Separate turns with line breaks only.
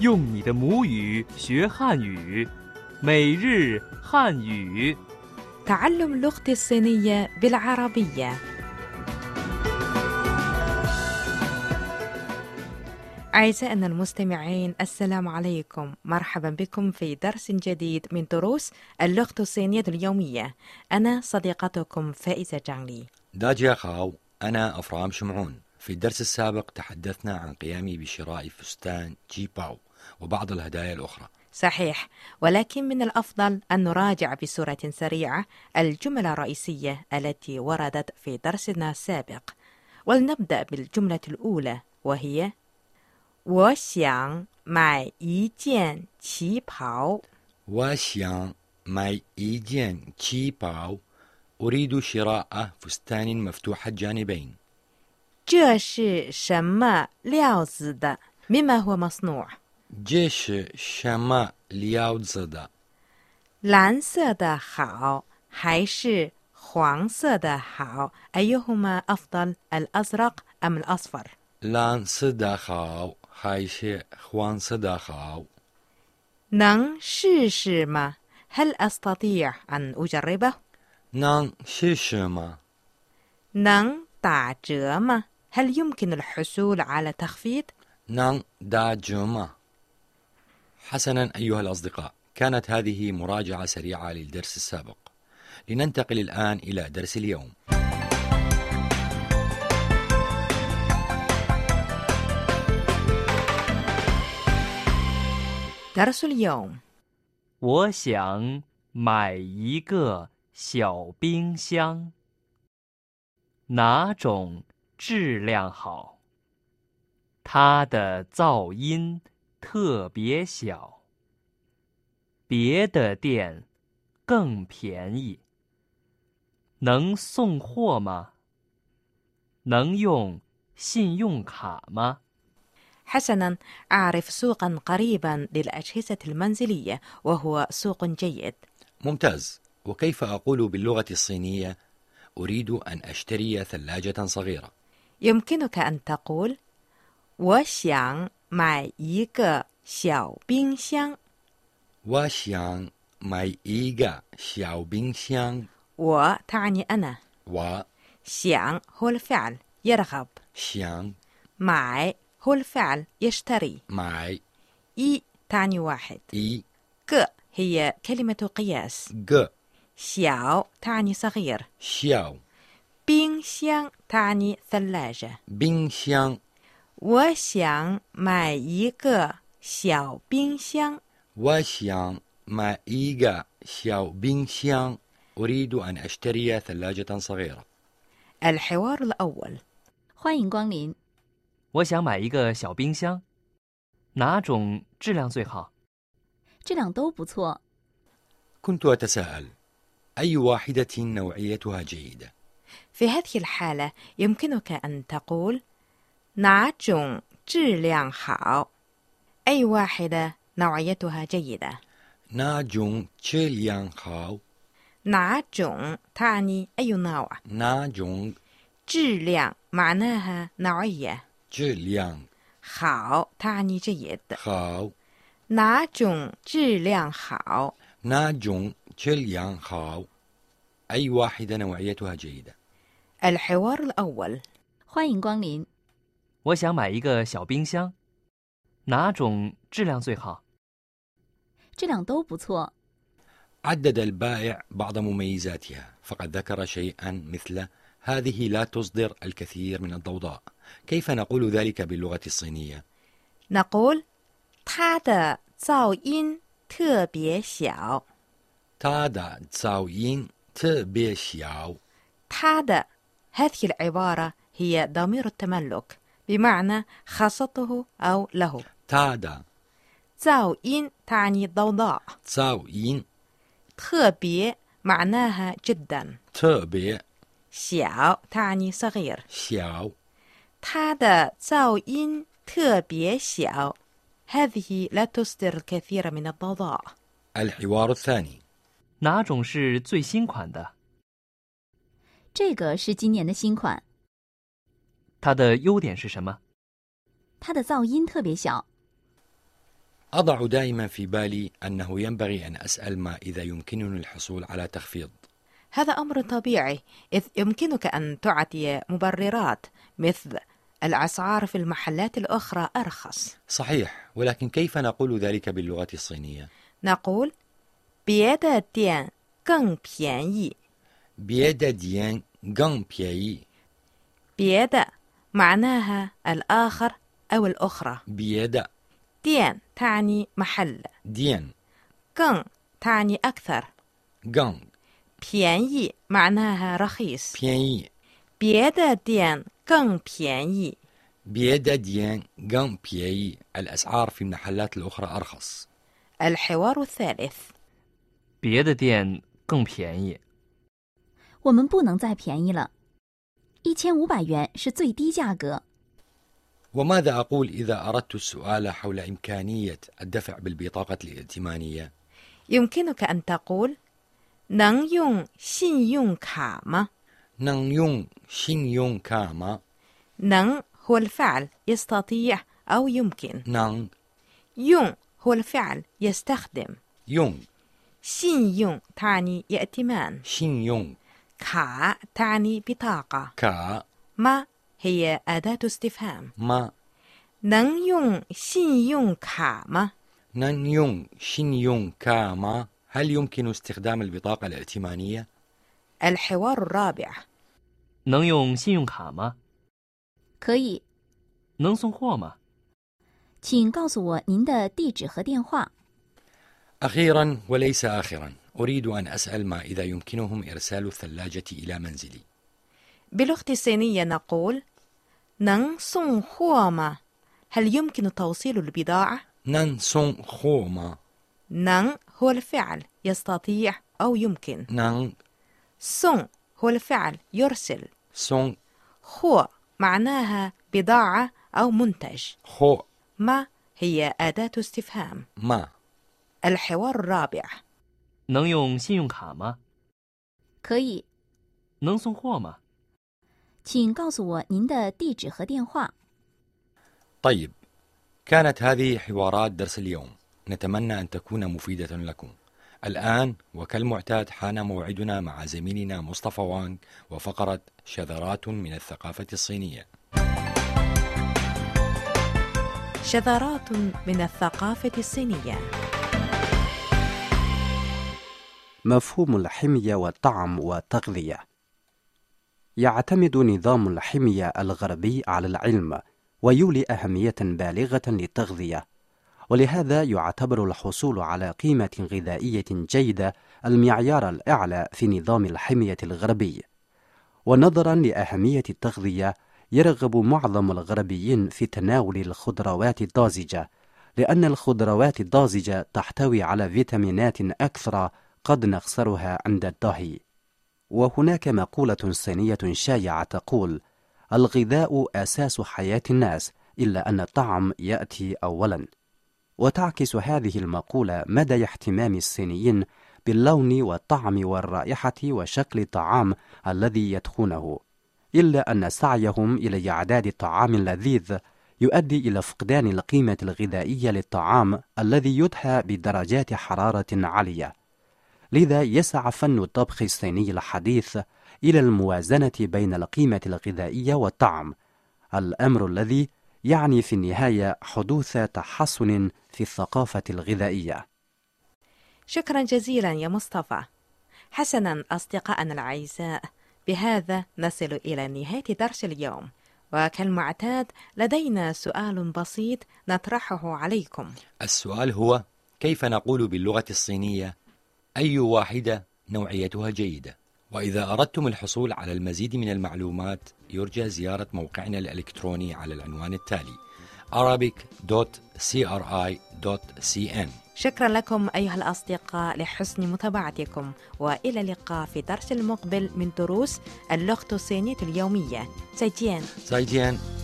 用你的母语学汉语，每日汉语。
تعلم لغتي الصينية بالعربية أعزائنا المستمعين السلام عليكم مرحبا بكم في درس جديد من دروس اللغة الصينية اليومية أنا صديقتكم فائزة جانلي
داجيا خاو أنا أفرام شمعون في الدرس السابق تحدثنا عن قيامي بشراء فستان جي باو وبعض الهدايا الأخرى
صحيح ولكن من الأفضل أن نراجع بصورة سريعة الجمل الرئيسية التي وردت في درسنا السابق ولنبدأ بالجملة الأولى وهي 我想买一件旗袍
واشيان ماي إيجين تشي باو أريد شراء فستان مفتوح الجانبين
这是什么料子的 مما هو مصنوع
جيش شما لياو زدا
蓝色的好还是黄色的好 أيهما أفضل الأزرق أم الأصفر
لان صدا خاو خايشي خوان صدا خاو
能试试吗 هل أستطيع أن أجربه
نان شيشما
能打折吗 هل يمكن الحصول على تخفيض
نان دا جوما حسنا أيها الأصدقاء كانت هذه مراجعة سريعة للدرس السابق لننتقل الآن إلى درس اليوم
درس اليوم
我想买一个小冰箱，哪种质量好？它的噪音特别小，别的店更便宜。能送货吗？能用信用卡吗？
حسنا أعرف سوقا قريبا للأجهزة المنزلية وهو سوق جيد
ممتاز وكيف أقول باللغة الصينية أريد أن أشتري ثلاجة صغيرة
يمكنك أن تقول 我想买一个小冰箱
واشيان ماي إيغا شاو بين شيان
وتعني أنا
و
想 هو الفعل يرغب
شيان
معي هو الفعل يشتري
ماي
إي تعني واحد
إي
ك هي كلمة قياس
غ
شاو تعني صغير
شاو
بينغ شيان تعني ثلاجة
بين شيان
我想买一个小冰箱。
واشيان ماي إيغا شاو بين شيان أريد أن أشتري ثلاجة صغيرة
الحوار الأول
欢迎光临，
我想买一个小冰箱，哪种质量最好？
质量都不错。
كنت أتساءل أي واحدة نوعيتها جيدة؟
في هذه الحالة يمكنك أن تقول 哪种质量好 أي واحدة نوعيتها جيدة
ناجون تشيليان خاو
哪种 تعني أي نوع
ناجون
质量 معناها نوعية
تشيليان
好 تعني جيد
خاو
哪种质量好
ناجون تشيليان خاو أي واحدة نوعيتها جيدة
الحوار الأول
欢迎光临，
我想买一个小冰箱，哪种质量最好？
质量都不错。
عدد البائع بعض مميزاتها فقد ذكر شيئا مثل هذه لا تصدر الكثير من الضوضاء كيف نقول ذلك باللغة الصينية؟
نقول 它的噪音特别小。
تادا تساويين تبيشياو
它的 هذه العبارة هي ضمير التملك بمعنى خاصته أو له
تادا
زاوين تعني ضوضاء
تساويين
特别 معناها جدا
تبيشياو
小 تعني صغير 它的噪音特别小 هذه لا تصدر الكثير من الضوضاء
الحوار الثاني
哪种是最新款的？
这个是今年的新款，
它的优点是什么？
它的噪音特别小。
أضع دائما في بالي أنه ينبغي أن أسأل ما إذا يمكنني الحصول على تخفيض
هذا أمر طبيعي إذ يمكنك أن تعطي مبررات مثل الأسعار في المحلات الأخرى أرخص
صحيح ولكن كيف نقول ذلك باللغة الصينية؟
نقول 别的店更便宜
بيدا ديان غان بياي
بيدا معناها الآخر أو الأخرى
بيدا
ديان تعني محل
ديان
كن تعني أكثر
غان
بياني معناها رخيص
بياي
بيدا ديان كن بياني
بيدا ديان غان بياي الأسعار في المحلات الأخرى أرخص
الحوار الثالث
别的店更便宜。
我们不能再便宜了，一千五百元是最低价格。
وماذا أقول إذا أردت السؤال حول إمكانية الدفع بالبطاقة الائتمانية؟
يمكنك أن تقول 能用信用卡吗？
نان يون شين يون كاما
نن نعم، هو الفعل يستطيع أو يمكن
نان
يون هو الفعل يستخدم
يون
شين يون تعني ائتمان
شين يون
كا تعني بطاقة
كا
ما هي أداة استفهام
ما
نن يون شين يون كا ما
نان يون شين يون كاما هل يمكن استخدام البطاقة الائتمانية؟
الحوار الرابع
能用信用卡吗？
可以，
能送货吗？
请告诉我您的地址和电话。
أخيرا وليس آخرا أريد أن أسأل ما إذا يمكنهم إرسال الثلاجة إلى منزلي
بلغة الصينية نقول نن سون هو ما هل يمكن توصيل البضاعة؟
نان سون خوما
نن هو الفعل يستطيع أو يمكن
نان
سون هو الفعل يرسل
سون
هو معناها بضاعة أو منتج
خو
ما هي أداة استفهام
ما
الحوار الرابع
能用信用卡吗？
可以，
能送货吗？
请告诉我您的地址和电话。
طيب كانت هذه حوارات درس اليوم نتمنى أن تكون مفيدة لكم الآن وكالمعتاد حان موعدنا مع زميلنا مصطفى وانغ وفقرة شذرات من الثقافة الصينية
شذرات من الثقافة الصينية
مفهوم الحمية والطعم والتغذية يعتمد نظام الحمية الغربي على العلم ويولي أهمية بالغة للتغذية ولهذا يعتبر الحصول على قيمة غذائية جيدة المعيار الأعلى في نظام الحمية الغربي ونظرا لأهمية التغذية يرغب معظم الغربيين في تناول الخضروات الطازجة لأن الخضروات الطازجة تحتوي على فيتامينات أكثر قد نخسرها عند الطهي وهناك مقولة صينية شائعة تقول الغذاء أساس حياة الناس إلا أن الطعم يأتي أولا وتعكس هذه المقولة مدى اهتمام الصينيين باللون والطعم والرائحة وشكل الطعام الذي يدخونه إلا أن سعيهم إلى إعداد الطعام اللذيذ يؤدي إلى فقدان القيمة الغذائية للطعام الذي يدحى بدرجات حرارة عالية لذا يسعى فن الطبخ الصيني الحديث إلى الموازنة بين القيمة الغذائية والطعم، الأمر الذي يعني في النهاية حدوث تحسن في الثقافة الغذائية.
شكرا جزيلا يا مصطفى حسنا أصدقائنا الأعزاء بهذا نصل إلى نهاية درس اليوم وكالمعتاد لدينا سؤال بسيط نطرحه عليكم
السؤال هو كيف نقول باللغة الصينية أي واحدة نوعيتها جيدة؟ وإذا أردتم الحصول على المزيد من المعلومات يرجى زيارة موقعنا الإلكتروني على العنوان التالي arabic.cri.cn
شكرا لكم أيها الأصدقاء لحسن متابعتكم وإلى اللقاء في درس المقبل من دروس اللغة الصينية اليومية سجين
زايديان